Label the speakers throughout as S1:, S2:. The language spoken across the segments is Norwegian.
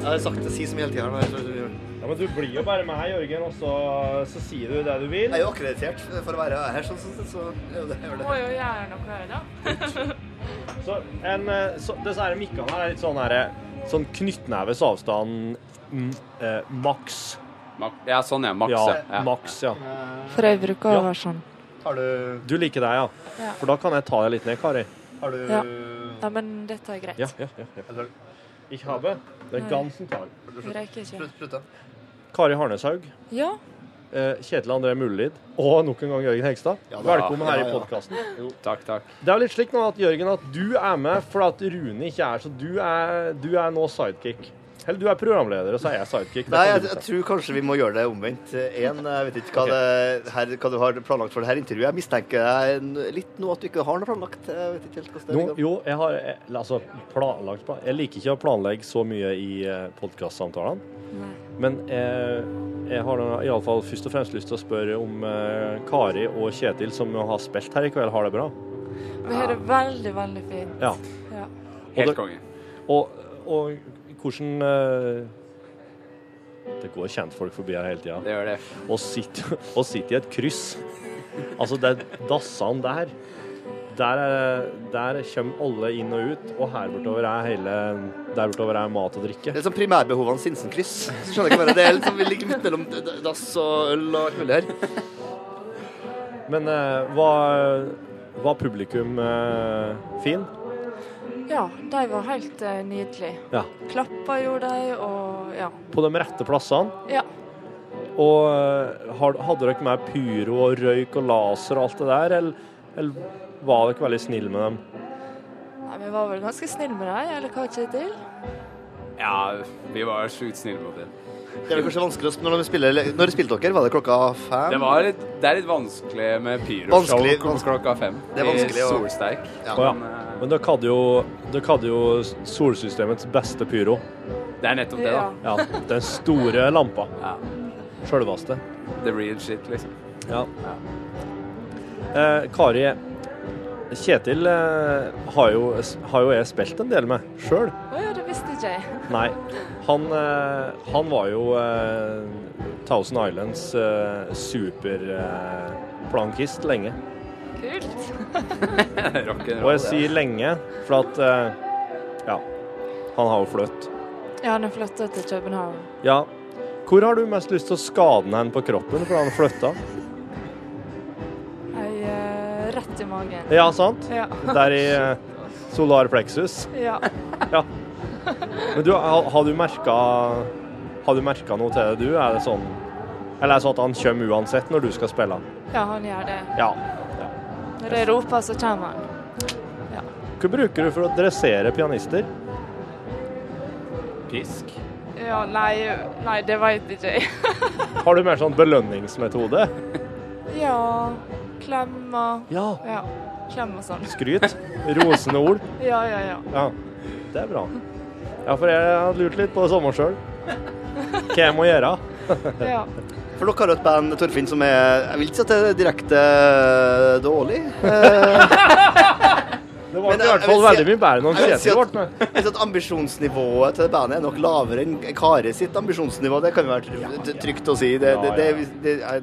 S1: Jeg har sagt det si som hele tiden, men jeg tror du gjør det.
S2: Ja, men du blir jo bare med her, Jørgen, og så, så sier du det du
S1: Jeg
S2: vil.
S1: er jo akkreditert for å være her, så, så, så, så ja, det gjør
S3: Må
S1: det.
S3: jo gjøre noe her, da.
S2: Så, en, eh, så disse her mikkene her er litt sånn her eh, Sånn knyttneves avstand mm, eh, maks.
S4: Mak- Ja, sånn er Max.
S2: Ja,
S4: ja.
S2: maks, ja.
S3: For jeg bruker
S2: Ja.
S3: å være sånn.
S1: Har du,
S2: Du liker deg, ja.
S3: Ja.
S2: For da kan jeg ta deg litt ned, Kari.
S1: har du
S3: Ja. Nei, men dette er greit.
S2: Ja, ja, ja. ja.
S1: Eller
S2: Ikke havet. Det er dansen tar.
S3: Vi reiker ikke.
S1: slutt, slutt, da.
S2: Kari Harneshaug,
S3: Ja,
S2: eh, Kjetil André Mullid og nok en gang Jørgen Hegstad.
S1: Ja, da.
S2: Velkommen her
S1: Ja,
S2: i
S1: ja.
S2: podkasten.
S4: Takk, takk.
S2: Det er jo litt slik nå at Jørgen, at du er med fordi at Rune ikke er, så du er, du er nå sidekick. Eller du er programleder, og så er jeg sidekick. Det
S1: Nei,
S2: kan
S1: jeg,
S2: du
S1: jeg
S2: bestemme.
S1: tror kanskje vi må gjøre det omvendt. Én, jeg vet ikke hva, det, her, hva du har planlagt for det her intervjuet. Jeg mistenker deg n- litt nå at du ikke har noe planlagt. Jeg vet ikke helt hvordan det
S2: Nå,
S1: ligger an.
S2: jo, jeg har eh, altså, planlagt plan. Jeg liker ikke å planlegge så mye i podkastsamtalene.
S3: Nei.
S2: Men jeg, jeg har nå iallfall først og fremst lyst til å spørre om eh, Kari og Kjetil, som jo har spilt her i kveld, har det bra.
S3: vi har det veldig, veldig fint.
S2: Ja.
S3: Ja.
S2: Og
S4: Helt
S2: det-
S4: konge.
S2: Og, og hvordan eh, Det går kjentfolk forbi her hele tida.
S4: Det gjør det.
S2: og sitter, og sitter i et kryss. Altså, det er dassene der. Der, er, der kommer alle inn og ut, og her bortover er hele Der bortover er mat og drikke.
S1: Det er som primærbehovene Sinsenkryss. Så skjønner jeg ikke bare, Det er liksom, vi ligger midt mellom d- d- dass og øl og alt mulig her.
S2: Men eh, var, var publikum eh, fin?
S3: ja, de var helt eh, nydelige.
S2: Ja.
S3: Klappa gjorde de, og ja.
S2: På de rette plassene?
S3: Ja.
S2: Og eh, har- hadde dere med pyro og røyk og laser og alt det der, eller, eller var dere veldig snille med dem?
S3: Nei, vi var vel ganske snille med dem, eller hva, Kjetil?
S4: Ja, vi var sjukt snille mot dem.
S1: Det er vel kanskje vanskelig å sp- når de spiller Når spilte dere? Var det klokka fem?
S4: Det, var litt, det er litt vanskelig med pyroshow
S1: Vanskelig-
S4: klok- klokka fem.
S1: Det er vanskelig
S4: I
S1: å-
S4: Solsterk.
S1: Ja.
S2: Å ja.
S4: Men, eh,
S2: Men dere hadde jo, dere hadde jo solsystemets beste pyro.
S4: Det er nettopp det, da.
S2: Ja, den store lampa.
S4: Ja.
S2: Sjølveste.
S4: The real shit, liksom.
S2: Ja. Eh, Kari, Kjetil eh, har, jo, har jo jeg spilt en del med sjøl.
S3: Å ja, det visste ikke jeg.
S2: Nei. Han, eh, han var jo eh, Thousand Islands eh, superplankist lenge.
S3: Kult.
S2: Og
S4: Rock'n'roll.
S2: jeg sier lenge, for at eh, Ja. Han har jo fløtt.
S3: Ja, han er flytta til København.
S2: Ja. Hvor har du mest lyst til å skade han på kroppen for han flytta?
S3: Jeg, eh, rett i magen.
S2: Ja, sant?
S3: Ja.
S2: Der i eh, solar plexus.
S3: Ja.
S2: Ja. Men du, har, har du merka Har du merka noe til det, du? Er det sånn Eller er det sånn at han kommer uansett når du skal spille?
S3: ja, han gjør det.
S2: Ja.
S3: Når jeg roper, så kommer han.
S2: Hva bruker du for å dressere pianister?
S4: Pisk.
S3: Ja, nei, nei, det veit ikke jeg.
S2: Har du mer sånn belønningsmetode?
S3: Ja, klemmer.
S2: Ja.
S3: Ja, klemmer sånn.
S2: Skryt? Rosende ord?
S3: Ja, ja, ja.
S2: Ja. Det er bra. Ja, for jeg har lurt litt på det samme sjøl. Hva jeg må gjøre?
S3: ja.
S1: For dere har jo et band, Torfinn, som er Jeg vil ikke si at det er direkte eh, dårlig. Eh,
S2: Det
S1: Men
S2: var i
S1: jeg-
S2: hvert
S1: jeg
S2: fall
S1: vil si-
S2: veldig mye bedre enn
S1: jeg vil si
S2: Kjetil
S1: at-
S2: ble med.
S1: Jeg synes at ambisjonsnivået til det bandet er nok lavere enn Kari sitt ambisjonsnivå. Det kan jo være tr- trygt å si. Det, det, det,
S2: Ja, ja.
S1: det, er-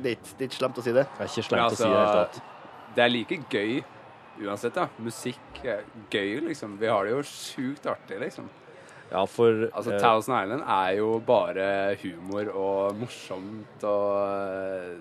S1: det er ikke- det er ikke slemt å si det.
S2: Det er ikke
S4: Men
S2: slemt å si i det hele tatt.
S4: Altså, det er like gøy uansett, da. Musikk er gøy, liksom. Vi har det jo sjukt artig, liksom.
S2: Ja, for
S4: Altså,
S2: eh,
S4: Thousand Island er jo bare humor og morsomt og eh,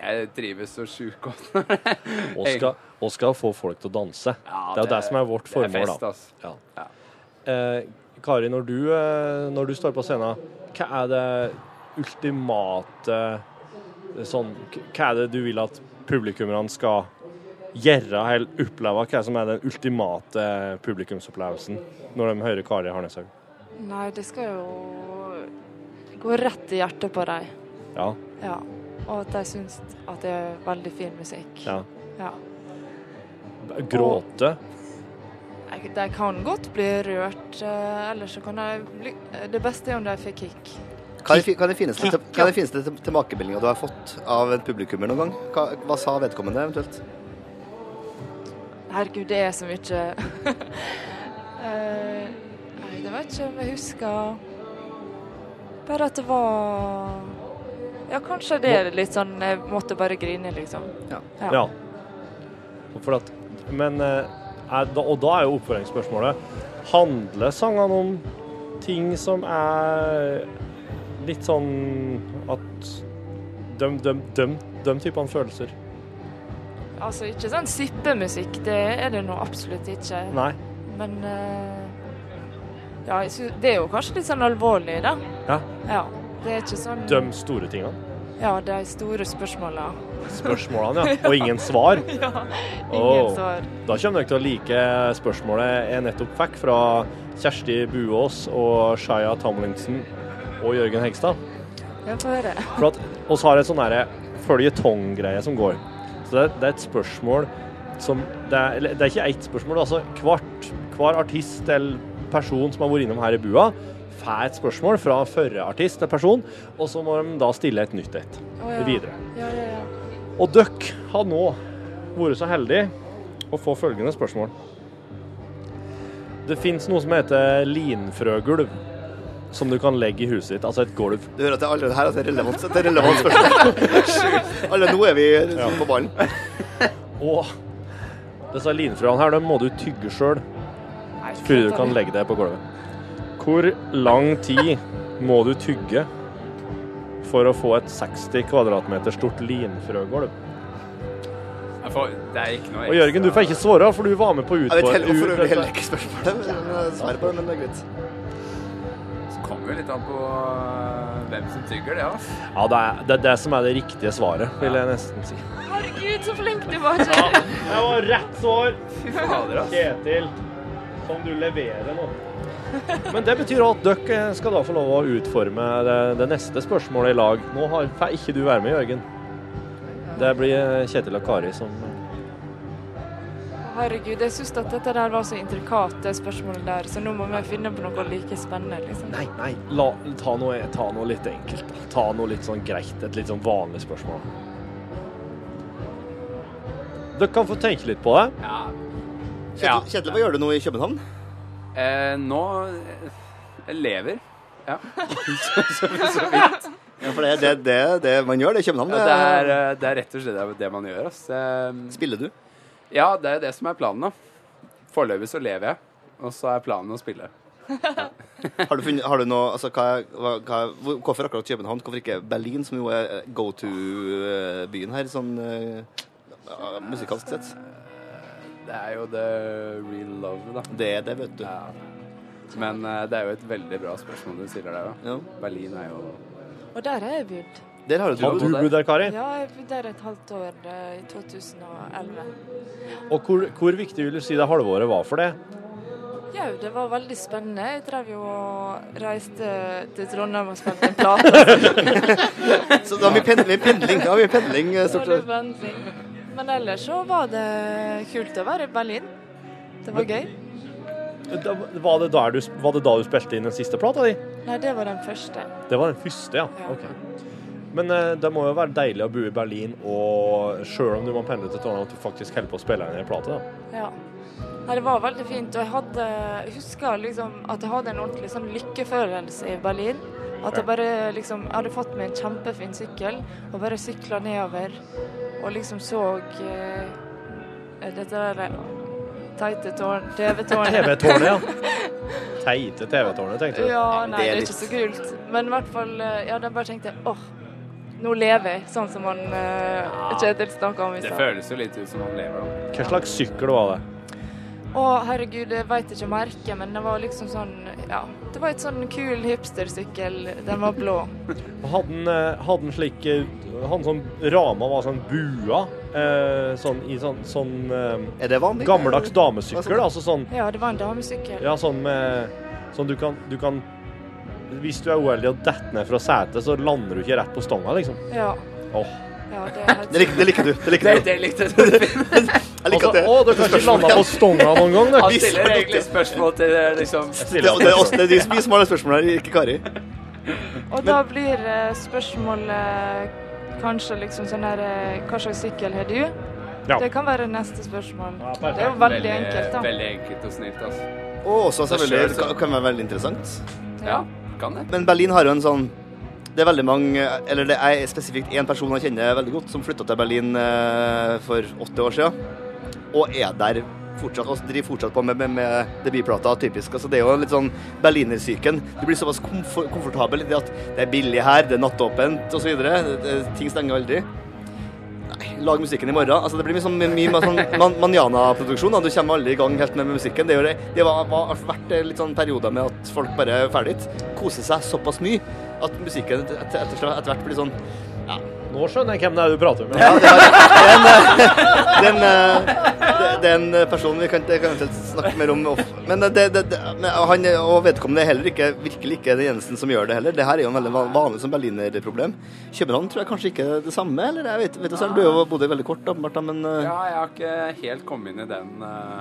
S4: Jeg drives så sjukt godt når det
S2: Og skal, og skal få folk til å danse. det er jo det, som er vårt
S4: Det er
S2: formål,
S4: fest,
S2: da.
S4: altså.
S2: Ja.
S4: Ja.
S2: Eh, Kari, når du, eh, når du står på scenen, hva er det ultimate eh, sånn, k- Hva er det du vil at publikummerne skal gjøre eller oppleve? Hva er det som er den ultimate publikumsopplevelsen når de hører Kari Harneshaug?
S3: Nei, det skal jo gå rett i hjertet på dem.
S2: Ja,
S3: Ja. Og at de syns at det er veldig fin musikk.
S2: ja.
S3: Ja.
S2: Gråte.
S3: Jeg- De kan godt bli rørt, eh, ellers så kan de bli eh, Det beste er om de får kick.
S1: Hva er det fi- hva er det fineste, til- hva er det fineste til- tilbakemeldinga du har fått av en publikummer noen gang? Hva, hva sa vedkommende eventuelt?
S3: Herregud, det er så mye Eh, Nei, det vet ikke om jeg husker. Bare at det var Ja, kanskje det er litt sånn Jeg måtte bare grine, liksom.
S2: Ja. For at, men, eh, er, da- og da er jo oppføringsspørsmålet Handler sangene om ting som er litt sånn at De, de, de, de typene følelser.
S3: Altså ikke sånn sippemusikk, det er det nå absolutt ikke.
S2: Nei.
S3: Men eh, Ja, jeg sy- det er jo kanskje litt sånn alvorlig, da.
S2: Ja.
S3: ja. Det er ikke sånn
S2: De store tingene.
S3: Ja, de store spørsmåla.
S2: Spørsmålene, ja. Og ingen svar.
S3: Ingen
S2: Åh.
S3: svar.
S2: Da kommer dere til å like spørsmålet jeg nettopp fikk fra Kjersti Buås og Shaya Tamlingsen og Jørgen Hegstad.
S3: Jeg får høre.
S2: For at oss har et sånn derre føljetong-greie som går. Så det, det er et spørsmål som Det er, eller, det er ikke ett spørsmål, altså hvert, hver artist eller person som har vært innom her i bua, får et spørsmål fra førre artist eller person, og så må de da stille et nytt et
S3: Å, ja.
S2: videre.
S3: Ja, ja, ja.
S2: Og døkk har nå vært så heldig å få følgende spørsmål. Det fins noe som heter linfrøgulv, som du kan legge i huset ditt. Altså et gulv.
S1: Du hører at det er allerede her at det er relevant, det er relevant spørsmål. Alle, nå er vi på ballen.
S2: Og disse linfrøene her, dem må du tygge sjøl
S3: Nei,
S2: før du
S3: klart
S2: kan
S3: det.
S2: legge deg på gulvet. Hvor lang tid må du tygge for å få et 60 kvadratmeter stort linfrøgulv?
S4: Jeg får, det er ikke noe
S2: Og Jørgen, du får ikke svare, for du var med på
S1: Jeg vet heller, hvorfor
S2: utfor...
S1: det blir heller ikke spørsmålet, men svaret på det, men det er greit.
S4: Det kommer jo litt an på øh, hvem som tygger det, altså.
S2: Ja, det er, det er det som er det riktige svaret, vil jeg nesten si.
S3: Herregud, så flink du var, Kjell.
S2: Det var rett svar,
S4: Fy fader, ass.
S2: Kjetil, som du leverer nå. Men det betyr at dere skal da få lov å utforme det, det neste spørsmålet i lag. Nå har, får ikke du være med, Jørgen. Det blir eh, Kjetil og Kari som eh,
S3: Herregud, jeg syns at dette der var så intrikat, det spørsmålet der, så nå må vi finne på noe like spennende, liksom.
S2: Nei, nei. La, ta, noe, ta noe litt enkelt. da. Ta noe litt sånn greit. Et litt sånn vanlig spørsmål. Dere kan få tenke litt på det.
S4: Ja. Ja.
S1: Kjetil, Kjetil, hva gjør du nå i København?
S4: Eh, nå eh, Jeg lever. Ja.
S1: Ja, for det er det, det, det man gjør, det er København.
S4: Ja, det, er, eh, det er rett og slett det- det man gjør, ass. Eh,
S1: Spiller du?
S4: Ja, det er det som er planen, da. Foreløpig så lever jeg, og så er planen å spille.
S1: Har du funnet, har du noe, altså, hva, hva, hva- hvor- hvorfor akkurat København? Hvorfor ikke Berlin, som jo er eh, go to-byen her, sånn eh, ja, musikalsk sett?
S4: Det er jo the real love, da.
S1: Det er det, vet du.
S4: Ja. Men eh, det er jo et veldig bra spørsmål du stiller der, da.
S1: Ja.
S4: Berlin er jo
S3: Og der har jeg bodd.
S1: Der har jo du
S2: Har du bodd der, Kari?
S3: Ja, jeg bodde der et halvt år eh, i 2011.
S2: Og hvor, hvor viktig vil du si det halvåret var for det?
S3: Ja, det var veldig spennende. Jeg drev jo og reiste til Trondheim og spilte en plate.
S1: Så da har vi pendling, vi pendling, da har vi pendling eh,
S3: så
S1: stort
S3: det
S1: sett.
S3: var en ting. Men ellers så var det kult å være i Berlin. Det var gøy.
S2: Da, var, det der du, var det da du spilte inn den siste plata di?
S3: Nei, det var den første.
S2: Det var den første, ja.
S3: Ja.
S2: Ok. Men eh, det må jo være deilig å bo i Berlin, og sjøl om du må pendle til Trondheim, at du faktisk holder på å spille inn en plate. da.
S3: Ja. Nei, det var veldig fint. Og jeg hadde, jeg husker liksom at jeg hadde en ordentlig sånn lykkefølelse i Berlin. At jeg bare liksom jeg hadde fått meg en kjempefin sykkel og bare sykla nedover og liksom så eh, dette der eh, teite tårn, TV-tårnet.
S2: TV-tårnet, ja. Teite TV-tårnet, tenkte du.
S3: Ja, nei,
S1: Det
S3: det
S1: er
S3: er ikke så kult. Men i hvert fall eh, Ja, da bare tenkte jeg åh, nå lever jeg, sånn som han eh, Kjetil snakka om i
S4: Det
S3: stad.
S4: føles jo litt ut som man lever, da.
S2: Hva slags sykkel var det?
S3: Å, herregud, jeg veit ikke merket, men det var liksom sånn Ja. Det var et sånn kul hipstersykkel. Den var blå.
S2: Hadde den, eh, hadde den slik eh, Hadde den sånn rama var sånn bua, eh, sånn i sånn, sånn eh,
S1: Er det vanlig?
S2: gammeldags damesykkel, altså sånn
S3: Ja, det var en damesykkel.
S2: Ja, sånn med Sånn du kan, du kan Hvis du er uheldig og detter ned fra setet, så lander du ikke rett på stonga, liksom.
S3: Ja.
S2: Åh.
S3: ja det er
S1: Det liker, det liker du. Det liker
S4: Det,
S1: du.
S4: det likte jeg.
S1: Jeg liker
S2: Altså,
S1: at det.
S2: å, du har ikke landa på stonga noen gang,
S4: Han
S2: du.
S4: stiller egentlig spørsmål til eh, liksom
S1: Det, det er oss, det er de som- vi som har det spørsmålet her, ikke Kari.
S3: Og da blir eh, spørsmålet kanskje liksom sånn her eh, Hva slags sykkel har du?
S2: Ja.
S3: Det kan være neste spørsmål.
S2: Ja, perfekt.
S3: Det er jo veldig enkelt, da.
S4: Veldig enkelt og snilt, altså.
S1: Og også selvfølgelig
S4: Det skjer, så-
S1: det kan være veldig interessant.
S4: Ja, kan det.
S1: Men Berlin har jo en sånn det er veldig mange, eller det er spesifikt én person jeg kjenner veldig godt, som flytta til Berlin eh, for åtte år siden. Og er der fortsatt, og driver fortsatt på med, med, med debutplata. Typisk. altså Det er jo litt sånn berlinersyken. Du blir såpass komfor komfortabel i det at det er billig her, det er nattåpent osv. Ting stenger aldri. Nei, lag musikken i morgen. Altså, det blir mye sånn, mye mer sånn man, manjana-produksjon. da. Du kommer aldri i gang helt med musikken. Det, er jo det, det var, var vært litt sånn perioder med at folk bare er ferdig. Koser seg såpass mye at musikken et- etter, etter, etter hvert blir sånn
S2: Nå skjønner jeg hvem det er du prater med.
S1: den, eh, den personen vi kan kanskje snakke mer om off. Men, eh, det, det, det, men han eh, og vedkommende er heller ikke virkelig ikke den eneste som gjør det heller. Det her er jo en veldig van- vanlig som berlinerproblem. København tror jeg kanskje ikke er det samme, eller jeg vet, vet du selv. Du har jo bodd der veldig kort, åpenbart, da, men eh,
S4: Ja, jeg har ikke helt kommet inn i den eh,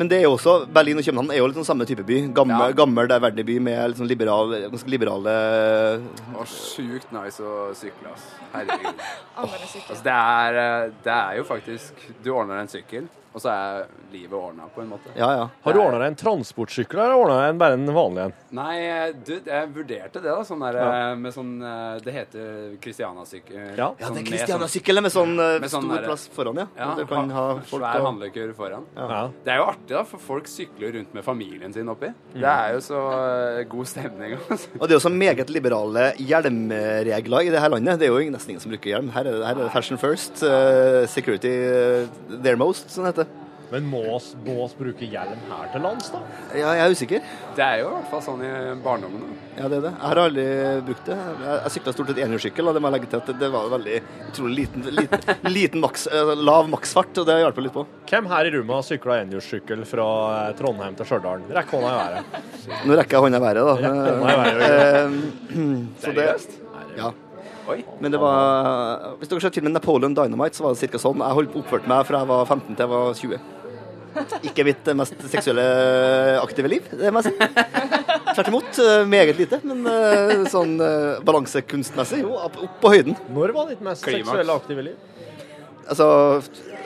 S1: Men det er jo også, Berlin og København er jo litt sånn samme type by. Gammel,
S4: Ja.
S1: gammel det er verdig by med litt sånn liberal, ganske liberale
S4: Å, sjukt nice å sykle, ass. Herregud.
S3: Anvende sykkel.
S4: Altså, det er, eh, det er jo faktisk Du ordner deg en sykkel, og så er livet ordna, på en måte.
S1: Ja, ja.
S2: Har du ordna deg en transportsykkel, eller ordna deg en, bare en vanlig en?
S4: Nei, eh, du, jeg vurderte det, da. Sånn der eh, med sånn eh, Det heter Christiana-sykkel.
S1: Ja,
S2: Ja.
S4: Sånn
S1: det er
S4: med sånn-
S1: Christiana-sykkel med sånn, eh,
S4: Med sånn
S1: stor
S4: der-
S1: plass foran, ja.
S4: Ja,
S1: Og du kan ha folk
S4: svær
S1: og-
S4: handlekurv foran.
S2: Ja.
S4: Det er jo artig, da, for folk sykler rundt med familien sin oppi.
S1: Mm.
S4: Det er jo så eh, god stemning. Altså.
S1: Og det er jo så meget liberale hjelmregler i det her landet. Det er jo ingen- nesten ingen som bruker hjelm. Her er det, her er det fashion first, eh, security eh, there most, sånn heter det.
S2: Men må oss, må oss bruke hjelm her til lands, da?
S1: Ja, jeg er usikker.
S4: Det er jo i hvert fall sånn i barndommen. da.
S1: Ja, det er det. Jeg har aldri brukt det. Jeg, jeg sykla stort sett enhjulssykkel, og det må jeg legge til at det, det var veldig utrolig liten, liten, liten maks, eh, lav maksfart, og det hjalp jo litt på.
S2: Hvem her i rommet har sykla enhjulssykkel fra eh, Trondheim til Stjørdal? Rekk hånda i været.
S1: Nå rekker jeg hånda i været, da.
S2: hånda i været,
S1: Eh, så det,
S4: Seriøst?
S1: ja.
S4: Oi.
S1: Men det var Hvis dere har sett filmen Napoleon Dynamite, så var det ca. sånn. Jeg holdt oppført meg fra jeg var 15 til jeg var 20. Ikke mitt eh, mest seksuelle eh, aktive liv, det må jeg si. Tvert imot. eh, Meget lite. Men eh, sånn eh, balansekunstmessig, jo, opp, opp på høyden.
S2: Når var ditt mest
S4: Klimaks.
S2: seksuelle aktive liv?
S1: Altså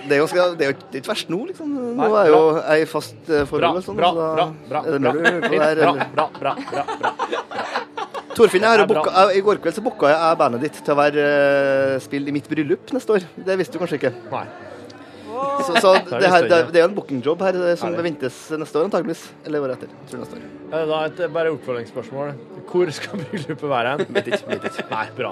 S1: det er, jo ganske, det er jo ikke- det er ikke verst nå, liksom. Nå
S2: Nei,
S1: er jo jeg i fast eh, forhold. og sånn, så da er det mer du hører på der, eller?
S2: bra, bra, bra, bra.
S1: Torfinn, jeg har jo
S2: Det er bra.
S1: booka, jeg, i går kveld så booka jeg jeg bandet ditt til å være eh, spill i mitt bryllup neste år. Det visste du kanskje ikke.
S2: Nei.
S1: Så, så
S2: er
S1: det, her,
S2: litt
S1: det,
S2: større.
S1: det er jo en bookingjob her eh, som
S2: Er det?
S1: ventes neste år antageligvis. Eller året etter. Tror jeg neste år.
S2: Eh, Da et eh, bare oppfølgingsspørsmål. Hvor skal bryllupet være hen? Vet ikke. vet ikke. Nei, bra.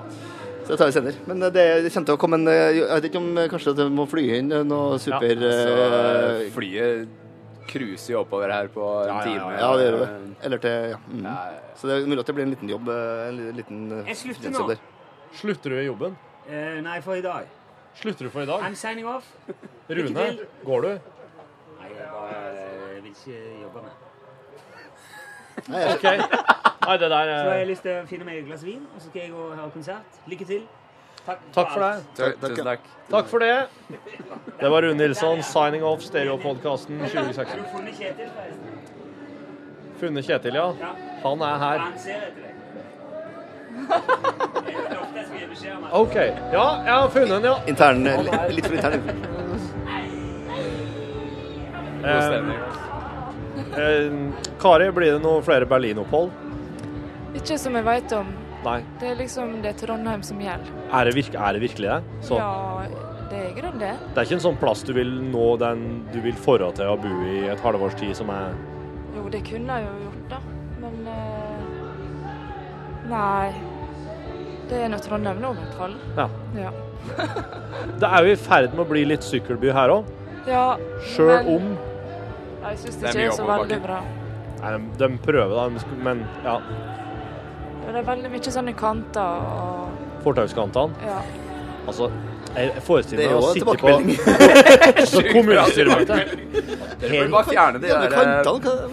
S1: Så det tar vi senere. Men eh, det, det kommer til å komme en eh, Jeg vet ikke om eh, kanskje det må fly inn eh, noe super
S4: Så eh,
S1: eh,
S4: flyet cruiser jo oppover her på en
S2: Ja, ja,
S4: time. Eh,
S2: ja,
S1: Ja, det gjør det. Eller til Ja. Mm.
S4: Ja,
S1: Så det er mulig at det blir en liten jobb. eh, En li- liten eh,
S5: Jeg slutter
S1: jobb
S5: nå.
S1: der.
S2: Slutter du i jobben?
S5: Eh, nei, for i dag.
S2: Slutter du for i dag?
S5: I'm signing off.
S2: Rune,
S5: til.
S2: går du?
S5: Nei, jeg bare jeg vil ikke jobbe mer.
S1: Nei, jeg,
S2: OK. Nei, det der
S5: Så
S2: eh,
S5: har jeg lyst til å finne meg et glass vin, og så skal jeg gå og høre konsert. Lykke til. Takk,
S2: Takk for det.
S5: alt.
S4: Tusen
S1: Takk, ja.
S4: takk.
S2: Takk for det. Det var Rune Nilsson, signing off Stereopodkasten
S5: Har
S2: 2016.
S5: du funnet Kjetil, forresten?
S2: Funnet Kjetil, ja.
S5: Ja.
S2: Han er her.
S5: Han ser etter deg. Jeg lovte jeg skulle gi beskjed om at
S2: OK. Ja, jeg har funnet den, ja.
S1: intern, litt, litt for intern.
S4: God stemning.
S2: Eh, Kari, blir det noe flere Berlin-opphold?
S3: Ikke som jeg veit om.
S2: Nei.
S3: Det er liksom det er Trondheim som gjelder.
S2: Er det, virk er det virkelig det? Sånn.
S3: Ja, det er i grunnen det.
S2: Det er ikke en sånn plass du vil nå den du vil forra til å bo i et halvårs tid, som er
S3: Jo, det kunne jeg jo gjort, da. Men eh, Nei. Det er nå Trondheim nå, i hvert fall.
S2: Ja.
S3: Ja.
S2: Det er jo i ferd med å bli litt sykkelby her òg,
S3: ja
S2: sjøl
S3: men-
S2: om
S3: Ja, Jeg syns
S4: Det
S3: det
S4: er
S3: ikke
S4: mye
S3: er så
S4: oppoverbakke.
S3: veldig bra.
S2: Nei, de, de prøver, da, de sk- men ja.
S3: Ja, Det er veldig mye sånne kanter og
S2: Fortauskantene
S3: Ja.
S2: Altså, jeg
S1: Det
S2: forestiller
S1: er
S2: meg
S1: jo
S2: å
S1: en
S2: sitte på Altså,
S1: tilbakemelding.
S2: på kommunestyremøte.
S4: Burde bare fjerne de
S1: Ja, men
S4: der eh,
S1: kantene, hva-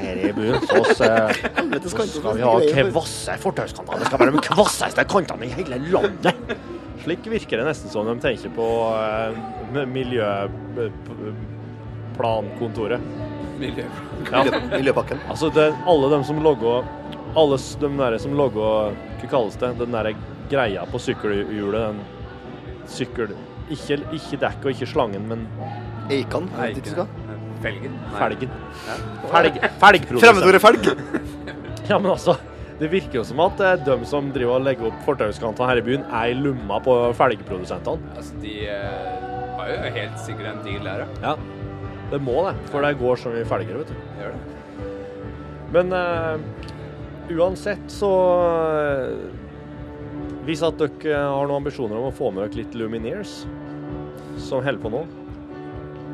S2: Her i byen så oss, eh,
S1: helvetes
S2: så
S1: kanter,
S2: skal vi
S1: hva
S2: ha
S1: er det?
S2: kvasse fortauskanter. Det skal være de kvasseste kantene i hele landet. Slik virker det nesten som de tenker på eh, miljøplankontoret.
S4: miljø.
S2: Ja.
S1: Miljø- Miljøpakken.
S2: Altså, det, alle de som logger alle s- de der som logger Hva kalles det? Den der greia på sykkelhjulet. Den sykkel... Ikke, ikke dekk og ikke slangen, men
S1: Eikan?
S4: Nei,
S1: jeg vet ikke
S4: ikke
S1: hva.
S4: Felgen? Nei.
S2: felgen.
S4: Ja.
S2: Felg, felgprodusent.
S1: Fremmedordet felg!
S2: Ja, men altså, det virker jo som at eh, de som driver og legger opp fortauskantene her i byen, er i lomma på felgprodusentene.
S4: Altså, de eh, har jo helt sikkert en deal der, ja.
S2: Ja. Det må det, for det går så mye felger, vet du.
S4: Gjør det.
S2: Men eh, uansett så eh, Hvis at dere har noen ambisjoner om å få med dere litt Lumineers, som holder på nå,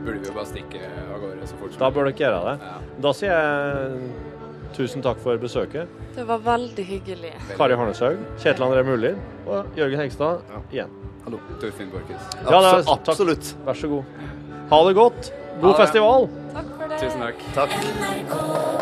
S4: Burde vi jo bare stikke av gårde så fort som
S2: da bør dere gjøre det.
S4: Ja.
S2: Da sier jeg tusen takk for besøket.
S3: Det var veldig hyggelig.
S2: Kari Harneshaug, Kjetil André Mulli og Jørgen Hegstad igjen.
S4: Torfinn Borchhus.
S2: Ja, det er-
S1: Abso- Absolutt.
S2: Vær så god. Ha det godt.
S4: Ha
S2: God
S4: det.
S2: festival.
S3: Takk for det.
S4: Tusen takk.
S1: Takk.
S6: NRK